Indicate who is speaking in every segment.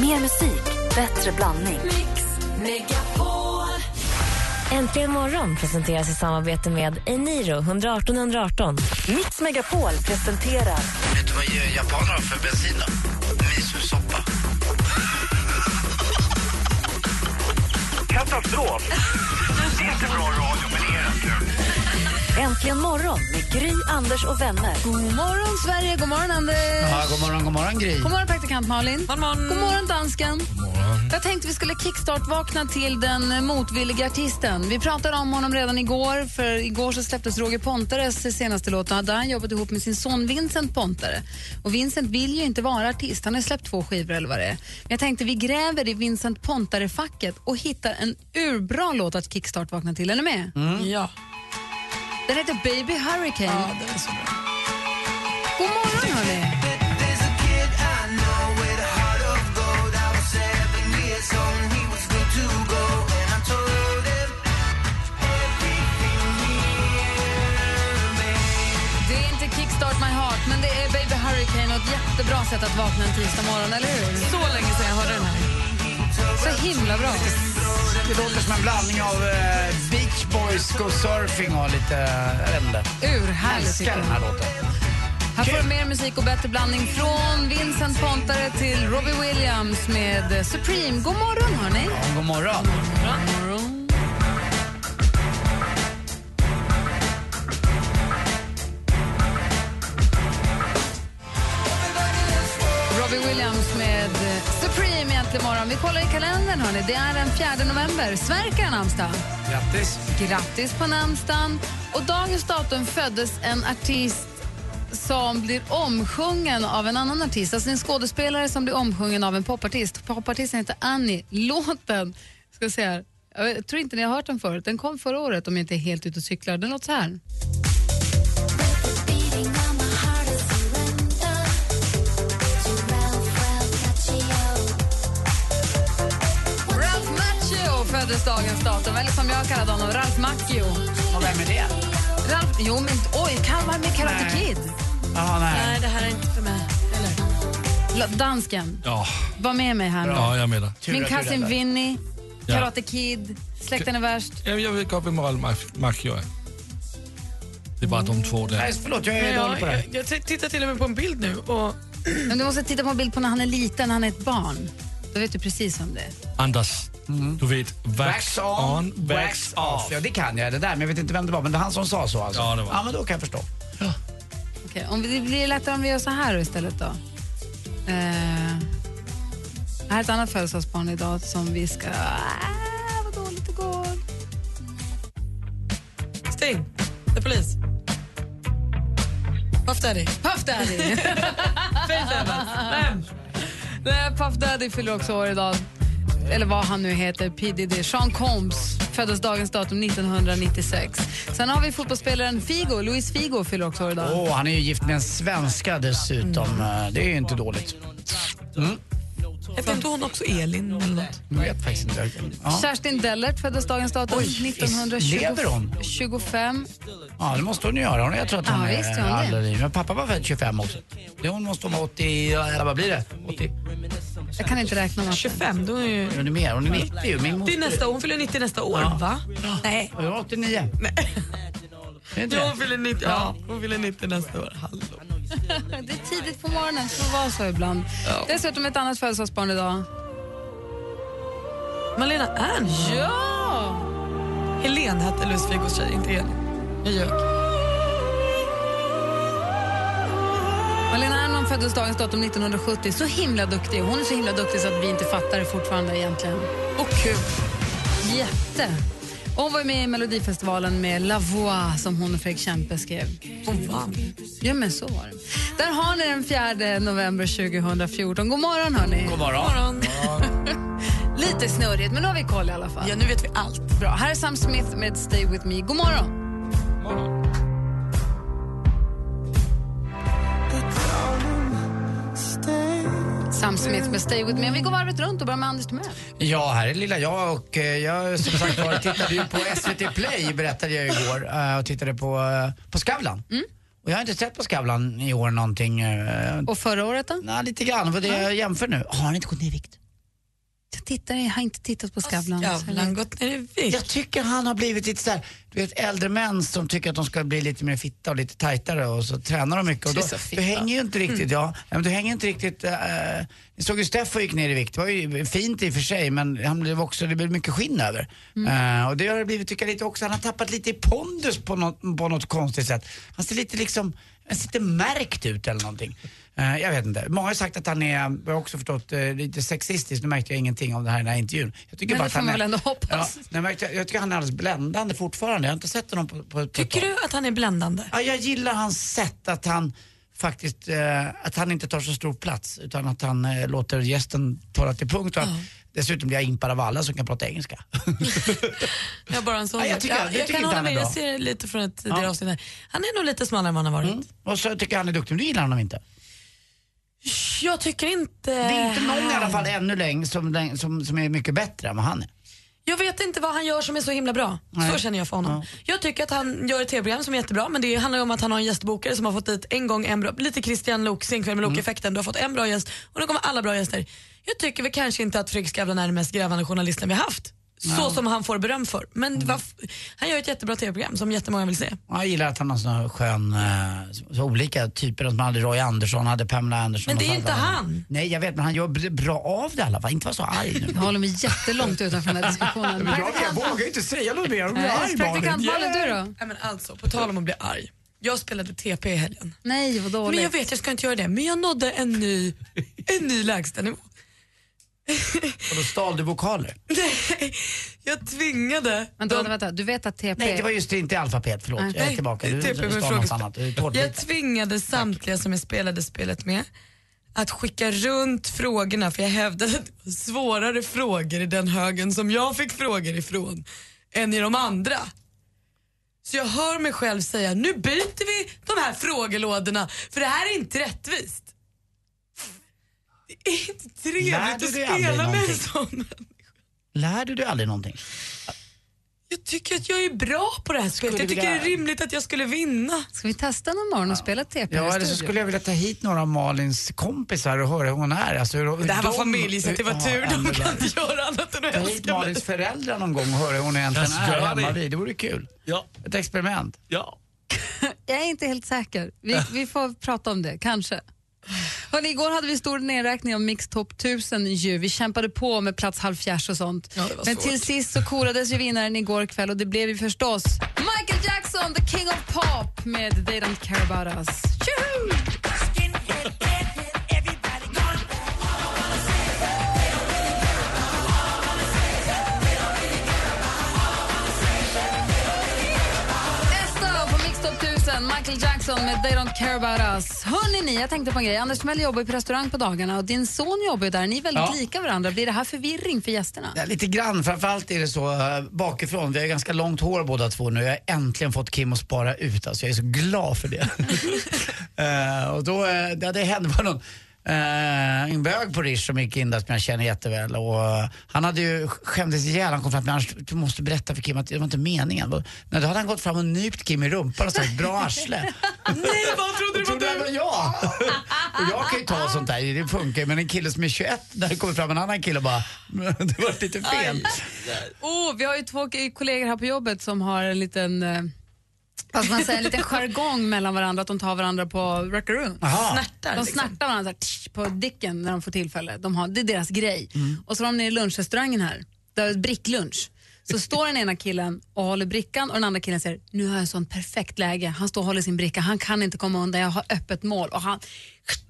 Speaker 1: Mer musik, bättre blandning.
Speaker 2: Mix Megapol.
Speaker 3: Äntligen morgon presenteras i samarbete med Eniro 118 118.
Speaker 1: Mix Megapol presenterar
Speaker 4: Vet du vad japaner har för bensin då? Miso-soppa. Katastrof! Det är inte bra radio, men det är det kul.
Speaker 1: Äntligen morgon med Gry, Anders och vänner.
Speaker 5: God morgon, Sverige. God morgon, Anders.
Speaker 4: Ja, god morgon, god morgon Gry.
Speaker 5: God morgon, praktikant Malin. God morgon, dansken.
Speaker 4: morgon.
Speaker 5: Jag tänkte vi skulle kickstart-vakna till den motvilliga artisten. Vi pratade om honom redan igår, för igår så släpptes Roger Pontares senaste låt. Då hade han jobbat ihop med sin son Vincent Pontare. Och Vincent vill ju inte vara artist, han har ju släppt två skivor eller vad det är. Men jag tänkte vi gräver i Vincent Pontare-facket och hittar en urbra låt att kickstart-vakna till. Är ni med?
Speaker 6: Ja,
Speaker 5: Den heter Baby Hurricane.
Speaker 6: ja det är så bra.
Speaker 5: God morgon, hörni. Det är inte Kickstart My Heart, men det är Baby Hurricane och ett jättebra sätt att vakna en tisdag morgon, eller hur?
Speaker 6: Så länge sedan jag hörde den här.
Speaker 5: Så himla bra.
Speaker 4: Det låter som en blandning av eh, Beach Boys, Go Surfing och lite... eh, Jag vet inte.
Speaker 5: Urhärligt. tycker
Speaker 4: Älskar den
Speaker 5: jag.
Speaker 4: här låten.
Speaker 5: Här får du mer musik och bättre blandning från Vincent Pontare till Robbie Williams med Supreme. God morgon, hörni.
Speaker 4: Ja, god morgon.
Speaker 5: Robbie Williams med eh, Supreme egentligen morgon. Vi kollar i kalendern, hörni. Det är den 4 november. Sverker har namnsdag.
Speaker 4: Grattis.
Speaker 5: Grattis på namnsdagen. Och dagens datum föddes en artist som blir omsjungen av en annan artist. Alltså en skådespelare som blir omsjungen av en popartist. Popartisten heter Annie. Låten, ska jag säga, här. jag tror inte ni har hört den förut. Den kom förra året om jag inte är helt ute och cyklar. Den låter så här. Ralph Macchio föddes dagens datum. Eller som jag kallade honom, Ralph Macchio.
Speaker 4: Och vem är det?
Speaker 5: Ralph, jo men oj, kan vara med Karate
Speaker 4: Nej.
Speaker 5: Kid.
Speaker 4: Jaha, nej.
Speaker 6: Nej, det här är inte för mig. Eller?
Speaker 5: La- Dansken,
Speaker 7: Ja,
Speaker 5: var med mig här nu.
Speaker 7: ja jag menar.
Speaker 4: Tur
Speaker 5: Min
Speaker 4: att du
Speaker 5: kusin
Speaker 4: räddade.
Speaker 5: Vinny,
Speaker 7: Ja.
Speaker 5: Karate Kid, Släkten är värst.
Speaker 7: Jag, jag vill gå upp i moral, Macchio. Det är bara de två där.
Speaker 4: Nej, förlåt. Jag är
Speaker 6: Ja,
Speaker 4: dålig på det här.
Speaker 6: jag, jag t- tittar till och med på en bild nu och
Speaker 5: Men du måste titta på en bild på när han är liten, han är ett barn. Då vet du precis om det är.
Speaker 7: Anders, du vet,
Speaker 4: Wax on, wax off. Ja, det kan jag det där, men jag vet inte vem det var. Men det var han som sa så alltså.
Speaker 7: Ja, det var.
Speaker 4: ja men då kan jag förstå.
Speaker 5: Okej, om vi, det blir lättare om vi gör så här då istället då. Eh, här är ett annat födelsedagsbarn idag som vi ska... Ah, vad dåligt det går.
Speaker 6: Sting, The Police. Puff Daddy.
Speaker 5: Puff Daddy!
Speaker 6: Vem?
Speaker 5: Nej, Puff Daddy fyller också år idag. Eller vad han nu heter, P Diddy. Sean Combs föddes dagens datum 1996. Sen har vi fotbollsspelaren Figo, Luis Figo fyller också år idag.
Speaker 4: Åh, han är ju gift med en svenska dessutom. Eh, Det är ju inte dåligt.
Speaker 6: Hette inte hon också Elin eller något?
Speaker 4: Jag vet faktiskt inte. Ja,
Speaker 5: Kerstin Dellert föddes dagens datum
Speaker 4: lever hon?
Speaker 5: 1925.
Speaker 4: ja det måste hon ju göra. Hon- Jag tror att hon
Speaker 5: Ja, visst gör hon det.
Speaker 4: det. Men pappa var född 25 också. Det hon måste vara 80, eller vad blir det? 80?
Speaker 5: Jag kan inte räkna med
Speaker 6: 25, då är ju...
Speaker 4: Hon är mer, hon är 90 ju. Min
Speaker 6: Det
Speaker 4: moster
Speaker 6: är nästa, hon fyller 90 nästa år,
Speaker 4: Ja.
Speaker 6: va? Nej.
Speaker 4: Hon är 89. Nej. Är inte
Speaker 6: Jo,
Speaker 4: det?
Speaker 6: hon fyller 90, ja, hon fyller 90 nästa år. Hallå.
Speaker 5: Det är tidigt på morgonen, så var så ibland. Dessutom ett annat födelsedagsbarn idag.
Speaker 6: Malena Ernst.
Speaker 5: Ja!
Speaker 6: Helen hette Louise Figos tjej, inte Elin. Jag ljög.
Speaker 5: Malena Ernman föddes dagens datum 1970. Så himla duktig. Hon är så himla duktig så att vi inte fattar det fortfarande egentligen.
Speaker 6: Och kul.
Speaker 5: Jätte! Och Hon var ju med i Melodifestivalen med La Voix som hon och Fredrik Kempe skrev.
Speaker 6: Hon vann.
Speaker 5: Ja, men så var det. Där har ni den 4 november 2014. God morgon, hörni.
Speaker 4: God morgon.
Speaker 6: Morgon.
Speaker 5: Lite snurrigt, men nu har vi koll i alla fall.
Speaker 6: Ja, nu vet vi allt.
Speaker 5: Bra. Här är Sam Smith med Stay With Me. God morgon! Sam Smith med Stay With Me. Vi går varvet runt och börjar med Anders Timell.
Speaker 4: Ja, här är lilla jag och eh, jag som sagt var tittade ju på SVT Play berättade jag igår eh, och tittade på, eh, på Skavlan.
Speaker 5: Mm.
Speaker 4: Och jag har inte sett på Skavlan i år någonting. eh,
Speaker 5: Och förra året då?
Speaker 4: Nej, lite grann. Vad det jag jämför nu. Har han inte gått ner i vikt?
Speaker 5: Jag tittar, jag har inte tittat på Skavlan. så jag vet
Speaker 6: Jävlar, gått ner i vikt.
Speaker 4: Jag tycker han har blivit lite såhär, du vet äldre män som tycker att de ska bli lite mer fitta och lite tajtare och så tränar de mycket och då,
Speaker 6: Det är så
Speaker 4: du
Speaker 6: fitta.
Speaker 4: hänger ju inte
Speaker 5: Mm.
Speaker 4: riktigt, ja, ja, men du hänger inte riktigt, eh, ni såg ju Steffo gick ner i vikt, det var ju fint i och för sig men han blev också, det blev mycket skinn över.
Speaker 5: Mm.
Speaker 4: Eh, och det har det blivit tycker jag lite också, han har tappat lite i pondus på något, på något konstigt sätt. Han ser lite liksom, han ser lite märkt ut eller någonting. Eh, jag vet inte, många har sagt att han är, jag har också förstått, eh, lite sexistisk, nu märkte jag ingenting om det här i den här intervjun. Jag tycker
Speaker 5: Men
Speaker 4: bara
Speaker 5: det
Speaker 4: att
Speaker 5: får
Speaker 4: han
Speaker 5: man
Speaker 4: är-
Speaker 5: väl ändå hoppas.
Speaker 4: Ja, nej, men jag, jag tycker han är alldeles bländande fortfarande. Jag har inte sett honom på, på, på ett
Speaker 6: Tycker
Speaker 4: tag.
Speaker 6: du att han är bländande?
Speaker 4: Ja, jag gillar hans sätt att han faktiskt, eh, att han inte tar så stor plats utan att han eh, låter gästen tala till punkt och att dessutom blir jag impad av alla som kan prata engelska.
Speaker 6: Jag bara en sån.
Speaker 4: Ja, jag tycker- jag tycker
Speaker 6: kan
Speaker 4: inte
Speaker 6: hålla
Speaker 4: han är
Speaker 6: med, jag
Speaker 4: bra.
Speaker 6: ser det lite från ett tidigare
Speaker 4: Ja. Mm.
Speaker 6: avsnitt. här. Han är nog lite smalare än vad han har varit.
Speaker 4: och så tycker jag han är duktig, men du gillar honom inte.
Speaker 6: Jag tycker inte...
Speaker 4: Det är
Speaker 6: Eh,
Speaker 4: inte någon i alla fall ännu längre som, som, som är mycket bättre än vad han är.
Speaker 6: Jag vet inte vad han gör som är så himla bra.
Speaker 4: Nej.
Speaker 6: Så känner jag för honom. Jag tycker att han gör ett tv-program som är jättebra men det handlar ju om att han har en gästbokare som har fått dit en gång en bra, lite Christian Lok, Sen kväll med Lok-effekten. Du har fått en bra gäst och nu kommer alla bra gäster. Jag tycker väl kanske inte att Fredrik Skavlan är den mest grävande journalisten vi har haft. Så som han får beröm för. Men
Speaker 4: Mm.
Speaker 6: varf- han gör ett jättebra tv-program som jättemånga vill se.
Speaker 4: Och Jag gillar att han har såna skön, eh, så- så olika typer. Som han hade Roy Andersson, hade Pamela Andersson.
Speaker 6: Men det är
Speaker 4: och så
Speaker 6: inte
Speaker 4: hade-
Speaker 6: han.
Speaker 4: Nej, jag vet, men han gör b- bra av det i alla fall. Inte var så arg nu.
Speaker 5: Jag håller mig jättelångt utanför den här diskussionen.
Speaker 4: vågar inte säga något mer. Jag blir
Speaker 5: Nej, Praktikant Malin, du då?
Speaker 6: Nej, men alltså, på tal om att bli arg. Jag spelade TP i helgen.
Speaker 5: Nej, vad dåligt.
Speaker 6: Men jag vet, jag ska inte göra det. Men jag nådde en ny, en ny lägstanivå.
Speaker 4: Och då stal du vokaler.
Speaker 6: Nej, jag tvingade
Speaker 5: Vänta, vänta, vänta, du vet att TP...
Speaker 4: Nej, det var just det, inte i alfabet. Förlåt,
Speaker 5: Nej.
Speaker 4: jag är tillbaka. Du
Speaker 6: det är typ
Speaker 4: stal
Speaker 6: en
Speaker 4: något
Speaker 6: fråga.
Speaker 4: annat. Du är tårtbit.
Speaker 6: Jag tvingade samtliga som jag spelade spelet med att skicka runt frågorna för jag hävdade att det var svårare frågor i den högen som jag fick frågor ifrån än i de andra. Så jag hör mig själv säga nu byter vi de här frågelådorna för det här är inte rättvist. Det är inte
Speaker 4: Lärde
Speaker 6: trevligt att
Speaker 4: dig aldrig
Speaker 6: spela med en
Speaker 4: någonting?
Speaker 6: sån.
Speaker 4: Lär du dig aldrig någonting?
Speaker 6: Jag tycker att jag är bra på det här spelet.
Speaker 4: Skulle
Speaker 6: Jag tycker det
Speaker 4: vilja-
Speaker 6: är rimligt att jag skulle vinna.
Speaker 5: Ska vi testa någon morgon och spela TP
Speaker 4: Ja,
Speaker 5: i
Speaker 4: eller så
Speaker 5: studion?
Speaker 4: skulle jag vilja ta hit några av Malins kompisar och höra hur hon är. Alltså, hur,
Speaker 6: Det här var
Speaker 4: de-
Speaker 6: familj så det var
Speaker 4: Ja,
Speaker 6: tur.
Speaker 4: ändå
Speaker 6: De kan
Speaker 4: där.
Speaker 6: inte göra annat än att
Speaker 4: Ta hit
Speaker 6: älska mig.
Speaker 4: Malins föräldrar någon gång och höra hur hon egentligen
Speaker 7: Jag ska
Speaker 4: är
Speaker 7: göra
Speaker 4: hemma
Speaker 7: det.
Speaker 4: vid. Det vore kul.
Speaker 7: Ja,
Speaker 4: Ett experiment.
Speaker 7: ja.
Speaker 5: Jag är inte helt säker. Vi, vi får prata om det, kanske. Hörrni, igår hade vi stor nedräkning av Mix Top 1000 ju. Vi kämpade på med plats halvfjerds och sånt.
Speaker 6: Ja, det var
Speaker 5: Men
Speaker 6: svårt.
Speaker 5: till sist så korades ju vinnaren igår kväll och det blev ju förstås Michael Jackson, the king of pop med They Don't Care About Us. Tjoho! Nästa på Mix Top 1000, Michael Jackson med They Don't Care About Us. Hörrni ni, jag tänkte på en grej. Anders Timell jobbar ju på restaurang på dagarna och din son jobbar ju där. Ni är väldigt
Speaker 4: Ja.
Speaker 5: lika varandra. Blir det här förvirring för gästerna?
Speaker 4: Ja, lite grann, framförallt är det så eh, bakifrån. Vi har ganska långt hår båda två nu. Jag har äntligen fått Kim att spara ut. Alltså, jag är så glad för det. Eh, och då, eh, det, det hände var någon eh, en bög på Rish som gick in där som jag känner jätteväl. Och, eh, han hade ju skämdes ihjäl. Han kom fram till mig "Anders, du måste berätta för Kim att det var inte meningen. Och, nej, då hade han gått fram och nypt Kim i rumpan och sagt bra arsle.
Speaker 6: Nej, vad trodde
Speaker 4: Jag
Speaker 6: du var
Speaker 4: trodde det var
Speaker 6: du?
Speaker 4: jag. Och jag kan ju ta sånt där, det funkar ju. Men en kille som är 21, där kommer fram en annan kille och bara, det var lite fel.
Speaker 5: Oh, vi har ju två k- kollegor här på jobbet som har en liten, eh, vad ska man säga, en liten jargong mellan varandra, att de tar varandra på rackaroon.
Speaker 4: Jaha.
Speaker 6: Snärtar,
Speaker 5: De
Speaker 6: liksom.
Speaker 5: snärtar varandra så här, tsch, på dicken när de får tillfälle. De har, det är deras grej. Och så var de nere i lunchrestaurangen här, där var ett bricklunch. Så står den ena killen och håller brickan och den andra killen säger nu har jag sånt perfekt läge. Han står och håller sin bricka, han kan inte komma undan, jag har öppet mål. Och han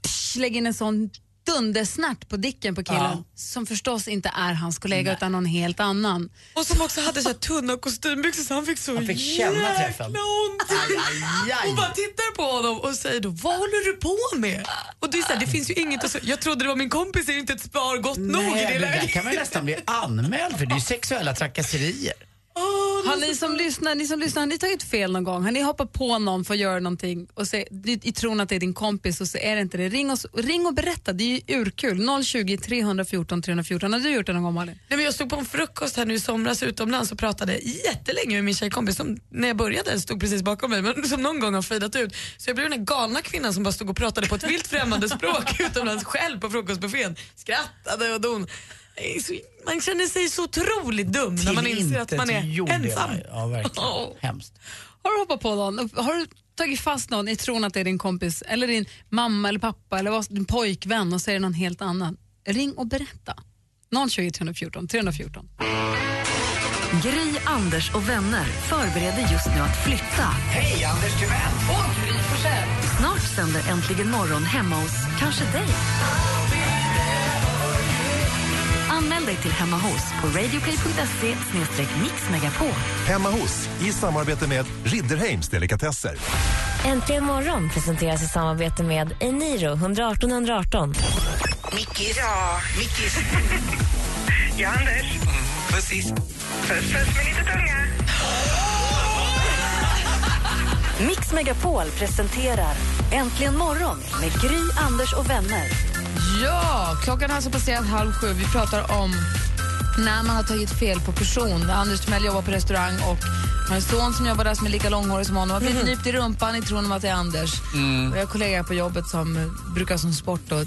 Speaker 5: tsch, lägger in en sån dundersnärt på dicken på killen
Speaker 4: Ja.
Speaker 5: som förstås inte är hans kollega utan någon helt annan.
Speaker 6: Och som också hade så här tunna kostymbyxor så han fick så
Speaker 4: Han fick känna
Speaker 6: jäkla
Speaker 4: träffen.
Speaker 6: ont.
Speaker 4: Ajaj.
Speaker 6: Hon bara tittar på honom och säger då, vad håller du på med? Och det är så här, det finns ju inget att säga. Jag trodde det var min kompis, det är inte ett spar gott nog i
Speaker 4: Nej,
Speaker 6: det
Speaker 4: det där
Speaker 6: läget.
Speaker 4: kan man ju nästan bli anmäld för. Det är ju sexuella trakasserier.
Speaker 6: Åh,
Speaker 5: Har ni som lyssnar, ni som lyssnar, har ni tagit fel någon gång? Har ni hoppat på någon för att göra någonting och se, i, i tron att det är din kompis och så är det inte det? Ring, oss, ring och berätta, det är ju urkul. 020 314 314. Har du gjort det någon gång Malin?
Speaker 6: Nej, men jag stod på en frukost här nu i somras utomlands och pratade jättelänge med min tjejkompis som när jag började stod precis bakom mig men som någon gång har fejdat ut. Så jag blev den här galna kvinnan som bara stod och pratade på ett vilt främmande språk utomlands själv på frukostbuffén. Skrattade och don. det är så, man känner sig så otroligt dum när man
Speaker 4: Till
Speaker 6: inser att
Speaker 4: intet
Speaker 6: man är
Speaker 4: gjorde jag.
Speaker 6: ensam.
Speaker 4: Ja, verkligen.
Speaker 6: Åh.
Speaker 4: Hemskt.
Speaker 5: Har du hoppat på någon? Har du tagit fast någon i tron att det är din kompis eller din mamma eller pappa eller vad, din pojkvän och så är det någon helt annan? Ring och berätta. 020 314 314.
Speaker 1: Gry, Anders och vänner förbereder just nu att flytta.
Speaker 4: Hej, Anders Timell!
Speaker 1: Snart sänder Äntligen morgon hemma hos kanske dig. Anmäl dig till Hemma hos på radioplay.se mixmegapol.
Speaker 8: Hemma hos, i samarbete med Ridderheims Delikatesser.
Speaker 3: Äntligen morgon presenteras i samarbete med Eniro 118 118.
Speaker 9: Mickis. Ja. Mickis. ja, Anders.
Speaker 10: Precis.
Speaker 9: Puss, puss med lite tunga.
Speaker 1: Mix Megapol presenterar Äntligen morgon med Gry, Anders och vänner.
Speaker 5: Ja, klockan har alltså passerat halv sju. Vi pratar om när man har tagit fel på person. Anders Timell jobbar på restaurang och har en son som jobbar där som är lika långhårig som honom. Har blivit nypt i rumpan i tron om att det är Anders. Och jag har kollegor på jobbet som eh, brukar som sport, och,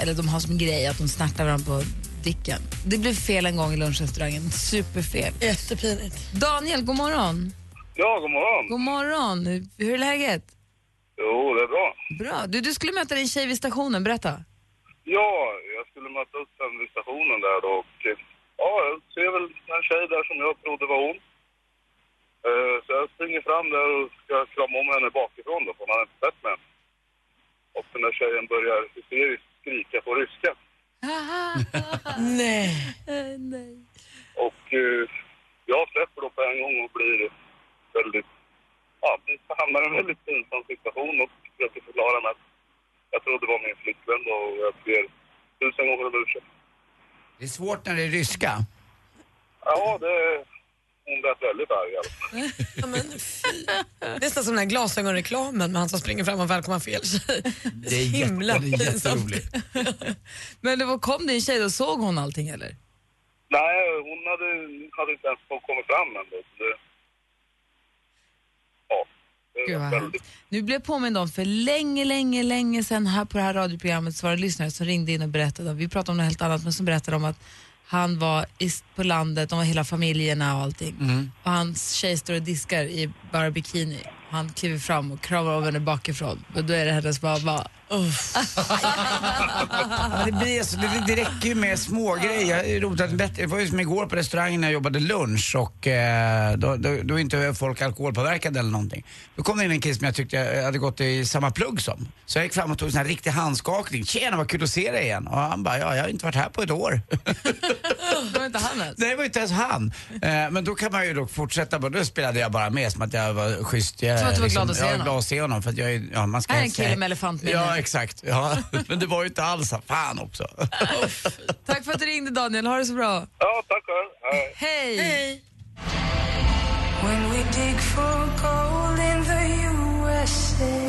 Speaker 5: eller de har som grej att de snärtar varandra på dicken. Det blev fel en gång i lunchrestaurangen. Superfel.
Speaker 11: Jättepinigt.
Speaker 5: Daniel, god morgon.
Speaker 12: Ja, god morgon.
Speaker 5: God morgon. Hur är läget?
Speaker 12: Jo, det är bra.
Speaker 5: Bra. Du, du skulle möta din tjej vid stationen. Berätta.
Speaker 12: Ja, jag skulle möta upp den vid stationen där då och eh, ja, jag ser väl en tjej där som jag trodde var hon. Eh, Så jag springer fram där och ska krama om henne bakifrån då, för man har inte sett mig än. Och den där tjejen börjar hysteriskt skrika på ryska.
Speaker 11: Nej.
Speaker 12: Och eh, jag släpper då på en gång och blir väldigt, ja, vi hamnar i en väldigt pinsam situation och försöker förklara mig att jag trodde det var min flickvän då och jag ber tusen gånger om ursäkt.
Speaker 4: Det är svårt när det är ryska.
Speaker 12: Ja, det... Hon lät väldigt arg i alla fall.
Speaker 6: Ja, men fy. Nästan som den här glasögonreklamen med han som springer fram och välkomnar fel tjej.
Speaker 4: Det är, jätte, det
Speaker 6: Himla
Speaker 4: är
Speaker 6: pinsamt.
Speaker 4: jätteroligt.
Speaker 5: liksom. Men det var, kom din tjej och såg hon allting eller?
Speaker 12: Nej, hon hade, hade inte ens kommit fram än då, så det... Ja. Det
Speaker 5: Gud,
Speaker 12: var
Speaker 5: vad
Speaker 12: väldigt...
Speaker 5: härligt. Nu blev jag påmind om för länge, länge, länge sedan här på det här radioprogrammet så var det lyssnare som ringde in och berättade, om- vi pratade om något helt annat, men som berättade om att han var i- på landet, de var hela familjerna och allting. Och hans tjej står och diskar i bara bikini. Han kliver fram och kramar om henne bakifrån. Och då är det hennes mamma. Uff.
Speaker 4: Ja, det, blir, så- det, det räcker ju med små grejer. Det är roligt att det är bättre. Det var ju som igår på restaurangen när jag jobbade lunch och eh, då, då, då är inte folk alkoholpåverkade eller någonting. Då kom det in en kille som jag tyckte jag hade gått i samma plugg som. Så jag gick fram och tog en sån här riktig handskakning. Tjena vad kul att se dig igen. Och han bara, ja jag har inte varit här på ett år.
Speaker 5: Det var inte han alltså. ens.
Speaker 4: Nej, det var inte ens han. Eh, men då kan man ju då fortsätta. bara- Då spelade jag bara med som att jag var schysst. Jag, liksom-
Speaker 5: Som att du var glad att se
Speaker 4: jag är
Speaker 5: honom.
Speaker 4: glad att se honom. För att jag är, ja, man ska
Speaker 5: Här är
Speaker 4: ju
Speaker 5: en kille
Speaker 4: säga-
Speaker 5: med elefantminne.
Speaker 4: Ja, exakt. Ja. Men det var ju inte alls han. Fan också.
Speaker 5: Tack för att du ringde Daniel, ha det så bra.
Speaker 12: Ja, tack själv. Hej.
Speaker 5: Hej!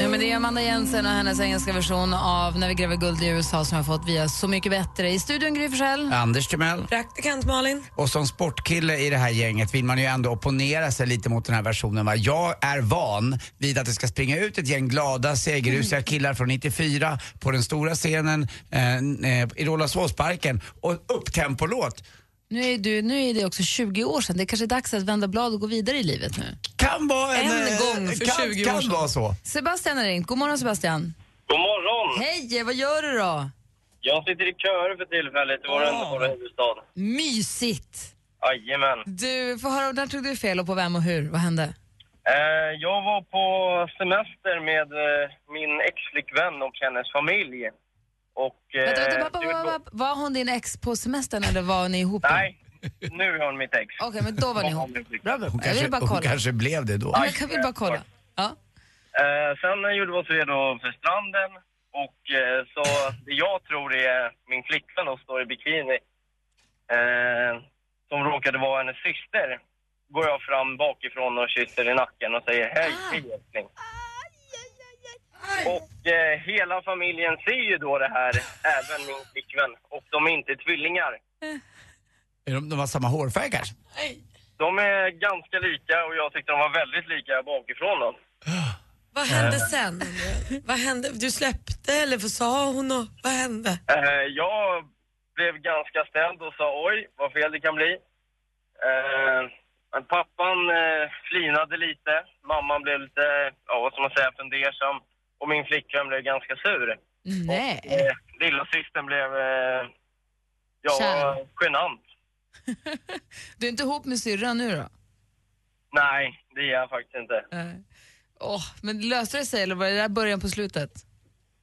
Speaker 5: Ja, men det är Amanda Jensen och hennes engelska version av När vi gräver guld i USA som jag har fått via Så mycket bättre. I studion Gry Forssell.
Speaker 4: Anders Timell.
Speaker 6: Praktikant Malin.
Speaker 4: Och som sportkille i det här gänget vill man ju ändå opponera sig lite mot den här versionen. Va? Jag är van vid att det ska springa ut ett gäng glada, segerrusiga killar från 94 på den stora scenen eh, eh, i Rålambshovsparken och en upptempolåt.
Speaker 5: Nu, är du, nu är det också 20 år sedan. Det är kanske är dags att vända blad och gå vidare i livet nu.
Speaker 4: Kan vara en...
Speaker 6: En
Speaker 4: eh,
Speaker 6: gång för
Speaker 4: kan,
Speaker 6: 20 år
Speaker 4: kan
Speaker 6: sedan.
Speaker 4: vara så.
Speaker 5: Sebastian har ringt. God morgon Sebastian.
Speaker 12: God morgon!
Speaker 5: Hej, vad gör du då?
Speaker 12: Jag sitter i köer för tillfället i vår underbara huvudstad.
Speaker 5: Mysigt.
Speaker 12: Jajamän.
Speaker 5: Du, får höra, när tog du fel och på vem och hur? Vad hände?
Speaker 12: Eh, jag var på semester med eh, min exflickvän och hennes familj. Och... eh,
Speaker 5: Vänta, vänta, pappa, pappa, pappa. Var hon din ex på semestern eller var ni ihop? då?
Speaker 12: Nej, nu är hon mitt ex.
Speaker 5: Okej, men då var ni ihop.
Speaker 12: Bra,
Speaker 4: Hon
Speaker 5: Jag
Speaker 4: kanske,
Speaker 5: vill bara
Speaker 4: hon
Speaker 5: kolla.
Speaker 4: kanske blev det då.
Speaker 5: Ja, men Jag vill bara kolla. Ja.
Speaker 12: Eh, sen eh, gjorde vi oss redo för stranden och eh, så det jag tror det är min flickvän och står i bikini eh, som råkade vara hennes syster går jag fram bakifrån och kysser i nacken och säger hej, hej älskling. Och eh, hela familjen ser ju då det här, även min flickvän, och de är inte tvillingar.
Speaker 4: Är De, de har samma hårfärg kanske?
Speaker 12: De är ganska lika och jag tyckte de var väldigt lika bakifrån då.
Speaker 11: Vad hände sen? undrar jag? Vad hände? Du släppte eller vad sa hon? Och, vad hände?
Speaker 12: Eh, jag
Speaker 13: blev ganska ställd och sa oj, vad fel det kan bli. Eh, men pappan eh, flinade lite, mamman blev lite, ja vad ska man säga, fundersam och min flickvän blev ganska sur.
Speaker 5: Nej.
Speaker 13: Eh, lilla systern blev, eh, ja,
Speaker 5: Kär.
Speaker 13: genant.
Speaker 5: Du är inte ihop med syrran nu då?
Speaker 13: Nej, det är jag faktiskt inte.
Speaker 5: Nej. Åh, men löste det sig eller var det där början på slutet?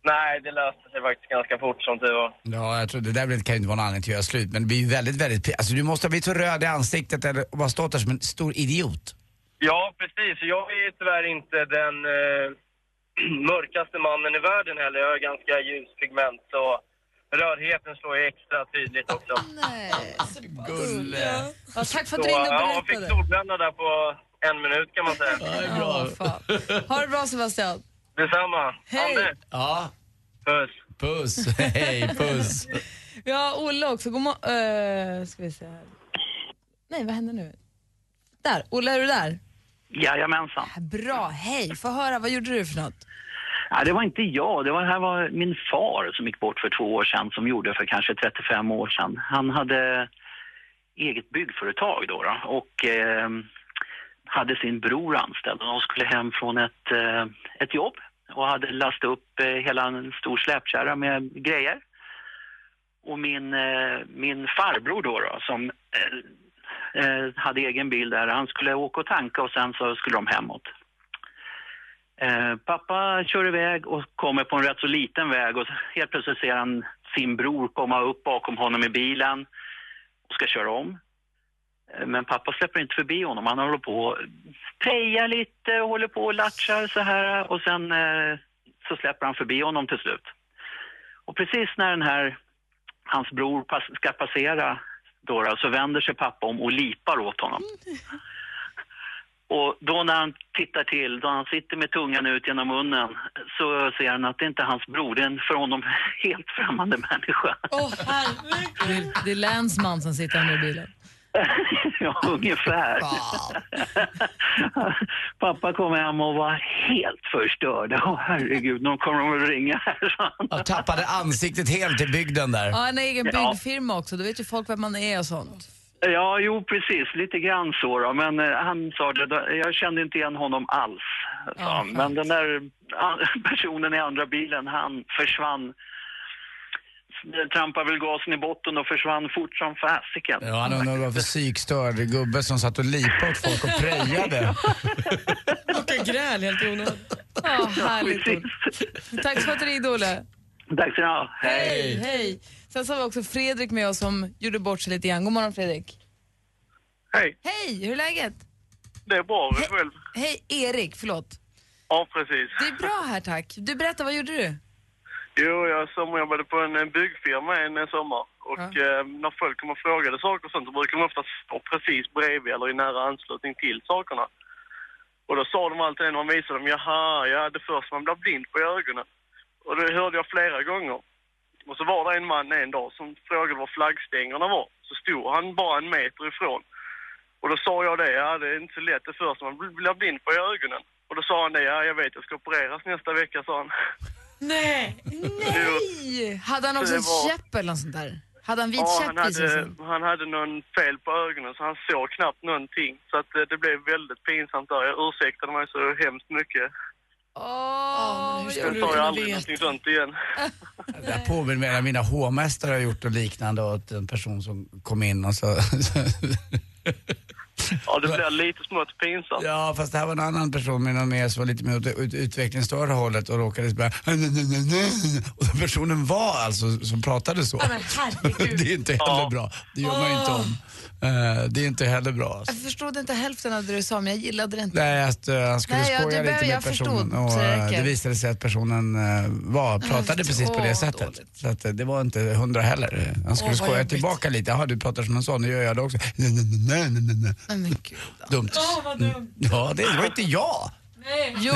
Speaker 13: Nej, det löste sig faktiskt ganska fort som tur var.
Speaker 4: Ja, jag tror det där väl kan ju inte vara någon anledning till att göra slut. Men det blir ju väldigt, väldigt... pi- Alltså du måste ha blivit så röd i ansiktet eller och bara stått där som en stor idiot.
Speaker 13: Ja, precis. Jag är ju tyvärr inte den eh, mörkaste mannen i världen heller. Jag har ganska ljus pigment, så rödheten slår ju extra tydligt också.
Speaker 5: Nej.
Speaker 13: Gulle.
Speaker 5: Ja, tack för att du ringde och
Speaker 13: Ja, jag
Speaker 5: berättade.
Speaker 13: fick solbränna där på en minut kan man säga.
Speaker 4: Ja, bra.
Speaker 5: Ha det bra Sebastian.
Speaker 13: Detsamma.
Speaker 5: Hej.
Speaker 13: Anders.
Speaker 4: Ja.
Speaker 13: Puss.
Speaker 4: Puss. Hej, puss.
Speaker 5: Vi har Olle också. God mo- eh, ska vi se här. Nej, vad händer nu? Där, Olle är du där?
Speaker 14: Jajamensan.
Speaker 5: Bra, hej. Få höra, vad gjorde du för något?
Speaker 14: Ja, det var inte jag, det var, det här var min far som gick bort för två år sedan som gjorde för kanske 35 år sedan. Han hade eget byggföretag då, då och eh, hade sin bror anställd och de skulle hem från ett, eh, ett jobb och hade lastat upp eh, hela en stor släpkärra med grejer. Och min, eh, min farbror då, då som eh, eh, hade egen bil där, han skulle åka och tanka och sen så skulle de hemåt. Eh, pappa kör iväg och kommer på en rätt så liten väg och helt plötsligt ser han sin bror komma upp bakom honom i bilen och ska köra om. Eh, Men pappa släpper inte förbi honom. Han håller på och pejar lite och håller på och latchar så här och sen eh, så släpper han förbi honom till slut. Och precis när den här, hans bror pass, ska passera då, då, så vänder sig pappa om och lipar åt honom. Och då när han tittar till, då han sitter med tungan ut genom munnen, så ser han att det inte är hans bror, det är en för honom helt främmande människa.
Speaker 5: Åh, oh, herregud. Det är länsman som sitter med i bilen.
Speaker 14: Ja, ungefär. Pappa kom hem och var helt förstörd. Åh herregud, nu kommer de att ringa här.
Speaker 4: Jag tappade ansiktet helt i bygden där.
Speaker 5: Ja, han har egen
Speaker 14: Ja.
Speaker 5: byggfirma också. Då vet ju folk vem man är och sånt.
Speaker 14: Ja, jo precis, lite grann så då. Men eh, han sa det, då- jag kände inte igen honom alls. sa han. Men den där an- personen i andra bilen, han försvann. Trampade väl gasen i botten och försvann fort som fasiken.
Speaker 4: Ja, han undrar vad det var för psykstörd gubbe som satt och lipade åt folk och prejade.
Speaker 15: Vilka gräl helt i onödan.
Speaker 5: Ja, härligt. Olle. Tack för att du ringde, Olle.
Speaker 14: Tack ska ni ha.
Speaker 5: Hej, hej. Sen så har vi också Fredrik med oss som gjorde bort sig lite grann. God morgon, Fredrik.
Speaker 12: Hej.
Speaker 5: Hej, hur är läget?
Speaker 12: Det är bra, hur själv?
Speaker 5: Hej, Erik. Förlåt.
Speaker 12: Ja, precis.
Speaker 5: Det är bra här, tack. Du, berätta, vad gjorde du?
Speaker 12: Jo, jag sommarjobbade på en eh, byggfirma en eh, sommar. Och eh, när folk kommer och frågade saker och sånt så brukar de ofta stå precis bredvid eller i nära anslutning till sakerna. Och då sa de alltid när man visade dem, jaha, ja det första man blir blind på i ögonen. Och det hörde jag flera gånger. Och så var det en man en dag som frågade var flaggstängerna var. Så stod han bara en meter ifrån. Och då sa jag det, ja det är inte så lätt det första man blir blind på i ögonen. Och då sa han det, ja jag vet jag ska opereras nästa vecka sa han.
Speaker 5: Nej! Nej! Hade han också
Speaker 12: Det
Speaker 5: en
Speaker 12: var-
Speaker 5: käpp eller något sånt där? Hade han vit
Speaker 12: Ja, han
Speaker 5: käpp i sig?
Speaker 12: hade,
Speaker 5: sen?
Speaker 12: han hade någon fel på ögonen så han såg knappt någonting. Så att eh, det blev väldigt pinsamt där. Jag ursäktade mig så hemskt mycket.
Speaker 5: Åh,
Speaker 12: Sen sa jag aldrig någonting sånt igen.
Speaker 4: Det här påminner mig om mina hovmästare har gjort och liknande åt en person som kom in och så...
Speaker 12: Ja, det blev lite smått pinsamt.
Speaker 4: Ja, fast det här var en annan person med någon mer som var lite mer åt det ut- utvecklingsstörda hållet och råkade börja... Och den personen var alltså som pratade så. Det är inte heller bra. Det gör man ju inte om. Eh, Det är inte heller bra. alltså.
Speaker 5: Jag förstod inte hälften av det du sa, men jag gillade det inte.
Speaker 4: Nej, att eh, han skulle
Speaker 5: Nej, ja,
Speaker 4: skoja
Speaker 5: det
Speaker 4: lite
Speaker 5: behöver-
Speaker 4: med
Speaker 5: jag
Speaker 4: personen
Speaker 5: förstod,
Speaker 4: och
Speaker 5: så det
Speaker 4: eh, det
Speaker 5: räcker.
Speaker 4: visade sig att personen eh, var, pratade precis på
Speaker 5: åh,
Speaker 4: det
Speaker 5: vad
Speaker 4: sättet. Så att, eh, det var inte hundra heller. Han skulle
Speaker 5: vad
Speaker 4: skoja
Speaker 5: jobbigt.
Speaker 4: tillbaka lite. Jaha, du pratar som en sån, nu gör jag det också. Nej, nej, nej, nej, nej, nej.
Speaker 5: Nej, men gud.
Speaker 4: Dumt.
Speaker 5: Åh, vad dumt.
Speaker 4: Mm. Ja, det, det var inte jag.
Speaker 5: Nej. Jo,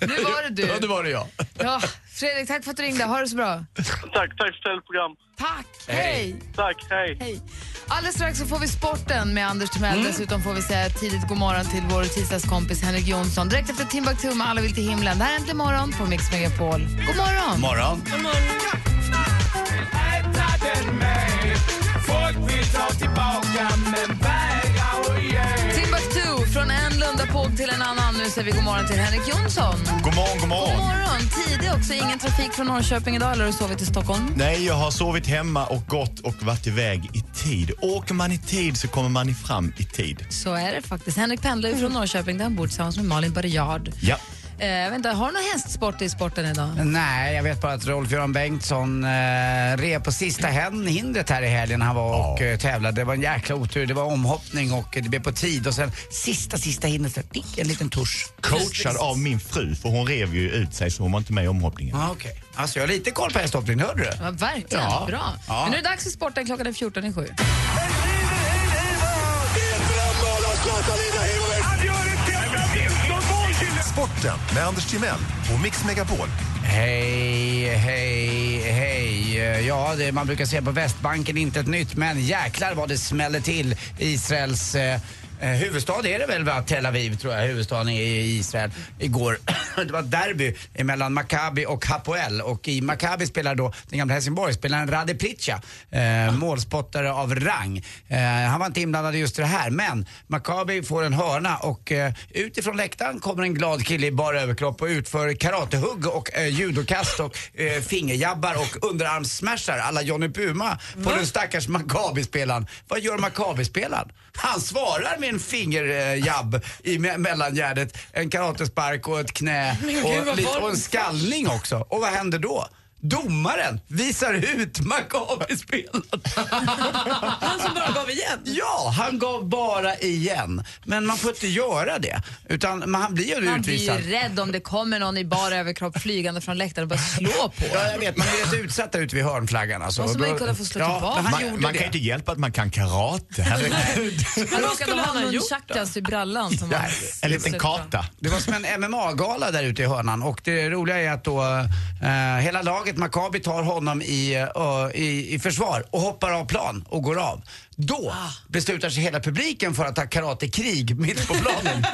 Speaker 4: nu
Speaker 5: var det du.
Speaker 4: Ja, det var det jag.
Speaker 5: ja. Fredrik, tack för att du ringde. Ha det så bra.
Speaker 12: Tack, tack för ett program.
Speaker 5: Tack, hej.
Speaker 12: Tack, hej.
Speaker 5: hej. Alldeles strax så får vi sporten med Anders Timell.
Speaker 4: Mm.
Speaker 5: Dessutom får vi säga tidigt god morgon till vår tisdagskompis Henrik Jonsson. Direkt efter Timbuktu med Alla vill till himlen. Det här är Äntligen morgon på Mix Megapol. God morgon!
Speaker 4: Morgon.
Speaker 5: God morgon. till en annan. Nu säger vi god morgon till Henrik Jonsson.
Speaker 16: God morgon, god
Speaker 5: God
Speaker 16: morgon.
Speaker 5: morgon. Tidig också. Ingen trafik från Norrköping idag eller har du sovit i Stockholm?
Speaker 16: Nej, jag har sovit hemma och gått och varit iväg i tid. Åker man i tid så kommer man i fram i tid.
Speaker 5: Så är det faktiskt. Henrik pendlar ju från Norrköping där han bor tillsammans med Malin Baryard.
Speaker 16: Ja.
Speaker 5: Eh, jag vet inte, har du någon hästsport i sporten idag?
Speaker 4: Nej, jag vet bara att Rolf-Göran Bengtsson eh, red på sista hen- hindret här i helgen när han var och eh, tävlade. Det var en jäkla otur. Det var omhoppning och eh, det blev på tid och sen sista, sista hindret, så tick, en liten tusch.
Speaker 16: Coachad av min fru, för hon rev ju ut sig så hon var inte med i omhoppningen.
Speaker 4: Ah, okay. Alltså jag har lite koll på hästhoppning, hörde du?
Speaker 5: Ja, verkligen.
Speaker 16: Ja.
Speaker 5: Bra.
Speaker 4: Ja.
Speaker 5: Men nu är det dags för sporten. Klockan är 14.07.
Speaker 8: Sporten med Anders Timell och Mix Megapol.
Speaker 4: Hej, hej, hej. Ja, det man brukar säga på Västbanken, inte ett nytt, men jäklar vad det smäller till i Israels eh, eh, huvudstad är det väl va? Tel Aviv tror jag huvudstaden är i Israel. Igår, det var ett derby mellan Maccabi och Hapoel och i Maccabi spelar då den gamla Helsingborgsspelaren Rade Pritcha, eh, målspottare av rang. Eh, han var inte inblandad i just det här men Maccabi får en hörna och eh, utifrån läktaren kommer en glad kille i bara överkropp och utför karatehugg och eh, judokast och eh, fingerjabbar och underarmssmashar alla Johnny Puma på den stackars Maccabi-spelaren. Vad gör Maccabi-spelaren? Han svarar med en fingerjabb eh, i me- mellangärdet, en karatespark och ett knä
Speaker 6: Men gud,
Speaker 4: och,
Speaker 6: vad
Speaker 4: lite, och en
Speaker 6: varmt.
Speaker 4: skallning också. Och vad händer då? Domaren visar ut Maccabi-spelaren.
Speaker 11: Han
Speaker 5: Alltså,
Speaker 11: som bara gav igen.
Speaker 4: Ja, han gav bara igen. Men man får inte göra det. Utan man, han blir ju
Speaker 5: Man blir
Speaker 4: utvisad.
Speaker 5: ju rädd om det kommer någon i bara överkropp flygande från läktaren och bara slå på
Speaker 4: Ja, jag vet. Man är rätt utsatt där ute vid hörnflaggan. Alltså.
Speaker 5: Måste man ju
Speaker 4: Då-
Speaker 5: kunna få slå
Speaker 4: ja,
Speaker 5: tillbaka.
Speaker 4: men Han
Speaker 5: Man-
Speaker 4: gjorde
Speaker 16: Man
Speaker 4: det.
Speaker 16: kan inte hjälpa att man kan karate. Herregud.
Speaker 5: Han
Speaker 11: Vad
Speaker 5: råkade
Speaker 11: skulle
Speaker 5: ha
Speaker 11: han ha gjort
Speaker 5: nunchakas i brallan. Som var
Speaker 16: En liten karta.
Speaker 4: Det var som en MMA-gala där ute i hörnan och det roliga är att då eh, hela laget Maccabi tar honom i, eh, i, i försvar och hoppar av plan och går av. Då
Speaker 5: Ah.
Speaker 4: beslutar sig hela publiken för att ta karatekrig mitt på planen.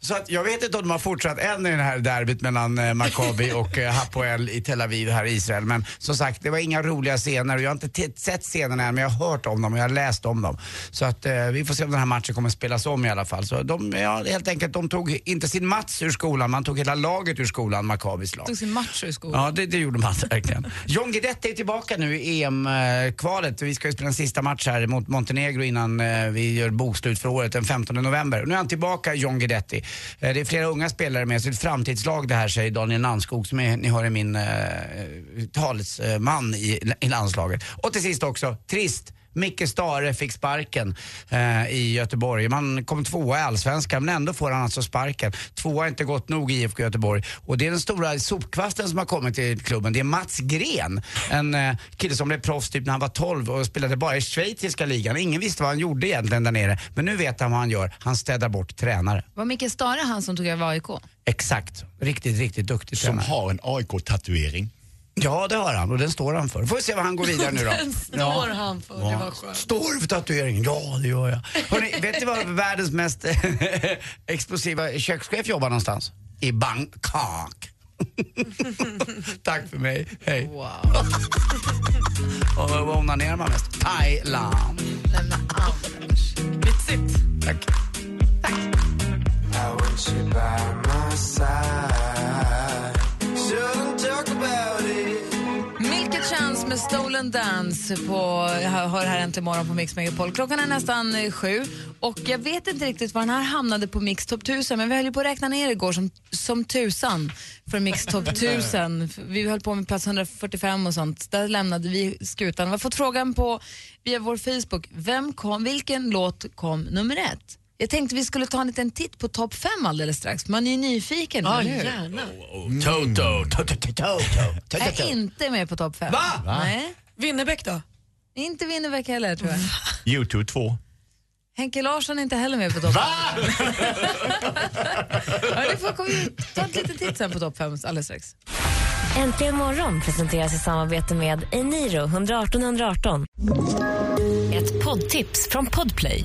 Speaker 4: Så att jag vet inte om de har fortsatt än i det här derbyt mellan eh, Maccabi och eh, Hapoel i Tel Aviv här i Israel. Men som sagt, det var inga roliga scener och jag har inte t- sett scenerna än men jag har hört om dem och jag har läst om dem. Så att eh, vi får se om den här matchen kommer spelas om i alla fall. Så de, ja, helt enkelt, de tog inte sin Mats ur skolan, man tog hela laget ur skolan, Maccabis lag.
Speaker 5: tog sin macho i skolan.
Speaker 4: Ja, det, det gjorde man verkligen. John Guidetti är tillbaka nu i EM-kvalet. Vi ska ju spela en sista match här mot Montenegro innan eh, vi gör bokslut för året den 15 november. Nu är han tillbaka, John Guidetti. Eh, Det är flera unga spelare med, så det är ett framtidslag det här, säger Daniel Nannskog som är, ni hör är min eh, talesman i, i landslaget. Och till sist också, trist. Micke Stare fick sparken eh, i Göteborg. Man kom tvåa i allsvenskan men ändå får han alltså sparken. Tvåa är inte gott nog i IFK Göteborg. Och det är den stora sopkvasten som har kommit till klubben. Det är Mats Gren, en eh, kille som blev proffs typ när han var 12 och spelade bara i schweiziska ligan. Ingen visste vad han gjorde egentligen där nere. Men nu vet han vad han gör. Han städar bort tränare.
Speaker 5: Var Micke Stare han som tog över AIK?
Speaker 4: Exakt. Riktigt, riktigt duktig
Speaker 16: Som
Speaker 4: tränare.
Speaker 16: har en AIK-tatuering.
Speaker 4: Ja, det har han och den står han för. Får vi se vad han går vidare nu då.
Speaker 11: Den står han för, det var skönt.
Speaker 4: Står du för tatueringen? Ja, det gör jag. Hörrni, vet ni var världens mest explosiva kökschef jobbar någonstans? I Bangkok. Tack för mig, hej. Wow. Och var onanerar man mest? Thailand.
Speaker 11: Vitsigt.
Speaker 4: Tack.
Speaker 5: Milka Chance med Stolen Dance på, hör här äntligen morgon på Mix Megapol. Klockan är nästan eh, sju och jag vet inte riktigt var den här hamnade på Mix Top 1000 men vi höll ju på att räkna ner igår som, som tusan för Mix Top 1000. Vi höll på med plats 145 och sånt. Där lämnade vi skutan. Vi har fått frågan på, via vår Facebook, vem kom, vilken låt kom nummer ett? Jag tänkte vi skulle ta en liten titt på topp fem alldeles strax. Man är ju nyfiken,
Speaker 11: Ja,
Speaker 5: eller hur?
Speaker 11: gärna.
Speaker 16: Mm.
Speaker 4: Toto, toto, toto, toto.
Speaker 5: Är inte med på topp fem.
Speaker 11: Va? Va?
Speaker 5: Nej.
Speaker 11: Winnerbäck då?
Speaker 5: Inte Winnerbäck heller tror jag.
Speaker 16: YouTube 2.
Speaker 5: Henke Larsson är inte heller med på topp fem. ja, det får komma ut. Ta ett litet titt sen på topp fem alldeles strax.
Speaker 3: Äntligen morgon presenteras i samarbete med Eniro 118 118. Ett poddtips från Podplay.